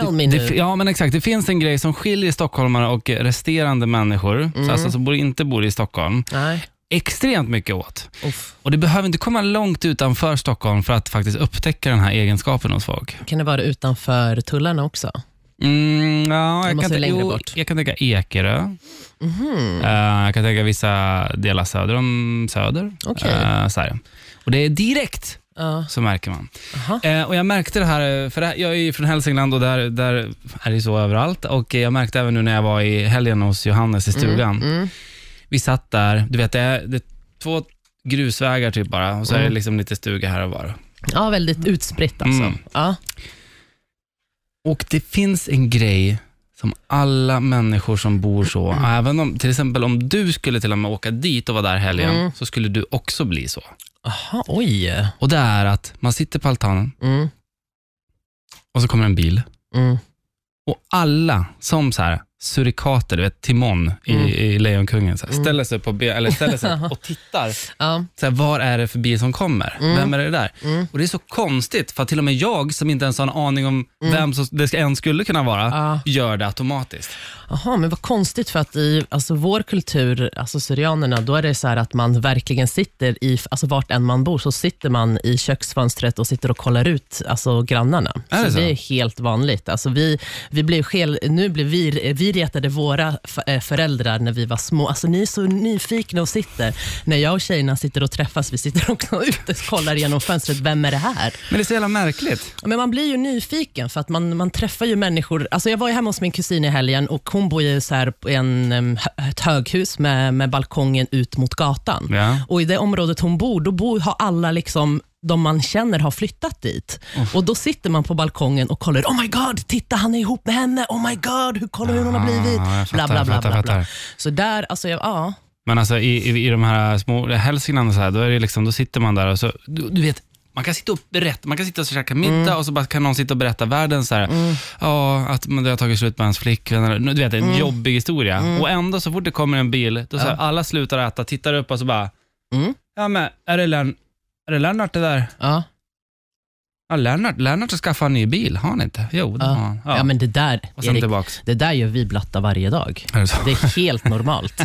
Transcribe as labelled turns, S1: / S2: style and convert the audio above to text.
S1: Tell me
S2: Det,
S1: nu.
S2: fi- ja men exakt, det finns en grej som skiljer stockholmare och resterande människor,
S1: Mhm.
S2: så alltså som bor, inte bor i Stockholm,
S1: Nej.
S2: extremt mycket åt.
S1: Uff.
S2: Och det behöver inte komma långt utanför Stockholm för att faktiskt upptäcka den här egenskapen hos folk.
S1: Kan det vara utanför tullarna också?
S2: Mm, ja,
S1: måste
S2: jag, kan
S1: ju
S2: tänka-
S1: längre
S2: jo,
S1: bort. Mhm.
S2: jag kan tänka Ekerö. Eh, jag kan tänka vissa delar söder om Söder.
S1: Okej.
S2: Eh, så här. Och det är direkt
S1: Ja.
S2: så märker man.
S1: Aha.
S2: Eh, och jag märkte det här, eh, för det här, jag är ju från Hälsingland och där, där är det ju så överallt. Och eh, jag märkte även nu när jag var i helgen hos Johannes i stugan.
S1: Mm.
S2: Vi satt där, du vet det är, det är två grusvägar typ bara och så är det
S1: Mm.
S2: liksom lite stuga här och var.
S1: Ja, väldigt utspritt alltså.
S2: Mm.
S1: Ja.
S2: Och det finns en grej som alla människor som bor så,
S1: Mm.
S2: även om, till exempel om du skulle till och med åka dit och vara där helgen,
S1: Mm.
S2: så skulle du också bli så.
S1: Aha, oj.
S2: Och det är att man sitter på altanen
S1: Mm.
S2: och så kommer en bil
S1: Mm.
S2: och alla som så här surikater, du vet Timon i,
S1: Mm.
S2: i Lejonkungen, så här,
S1: Mm.
S2: ställer sig upp och, be, eller ställer sig upp och tittar.
S1: Ja.
S2: Så här, var är det för bil som kommer?
S1: Mm.
S2: Vem är det där?
S1: Mm.
S2: Och det är så konstigt, för att till och med jag som inte ens har en aning om
S1: Mm.
S2: vem som det ens skulle kunna vara,
S1: Ja.
S2: gör det automatiskt.
S1: Jaha, men vad konstigt för att i alltså, vår kultur, alltså syrianerna, då är det så här att man verkligen sitter i, alltså vart än man bor, så sitter man i köksfönstret och sitter och kollar ut alltså, grannarna.
S2: Är det så?
S1: det är helt vanligt. Alltså, vi, vi blev skel, nu blev vi, vi retade våra f- eh, föräldrar när vi var små. Alltså, ni är så nyfikna och sitter. När jag och tjejerna sitter och träffas, vi sitter också ute och kollar genom fönstret. Vem är det här?
S2: Men det är så jävla märkligt.
S1: Ja, Men man blir ju nyfiken för att man, man träffar ju människor. Alltså jag var ju hemma hos min kusin i helgen och hon bor ju så här på en, em, hö- ett höghus med, med balkongen ut mot gatan.
S2: Ja.
S1: Och I det området hon bor, då bor, har alla liksom de man känner har flyttat dit. Och Då sitter man på balkongen och kollar. Oh my god, titta han är ihop med henne. Oh my god, hur kollar hur hon har
S2: Ah,
S1: blivit.
S2: jag fattar,
S1: Bla, bla, bla,
S2: fattar,
S1: bla, bla.
S2: fattar.
S1: Så där, alltså, jag, ja.
S2: Men alltså i, i, i de här små Hälsingland och så här, då, är det liksom, då sitter man där och så, du, du vet, man kan sitta och berätta, man kan sitta och käka middag
S1: Mm.
S2: och så bara kan någon sitta och berätta världen så här, ja, att man det har tagit slut med hans flickvän, eller, du vet en
S1: Mm.
S2: jobbig historia. Och ändå så fort det kommer en bil, då så här, alla slutar äta, tittar upp och så bara,
S1: Mm.
S2: ja men är det, Lern, är det Lennart det där?
S1: Ja,
S2: Ja, Lennart, Lennart ska skaffa en ny bil, har han inte? Jo, det
S1: ja.
S2: har han.
S1: Ja. men det där,
S2: och sen
S1: Erik,
S2: tillbaks.
S1: det där gör vi blatta varje dag.
S2: Är det så?
S1: Det är helt normalt.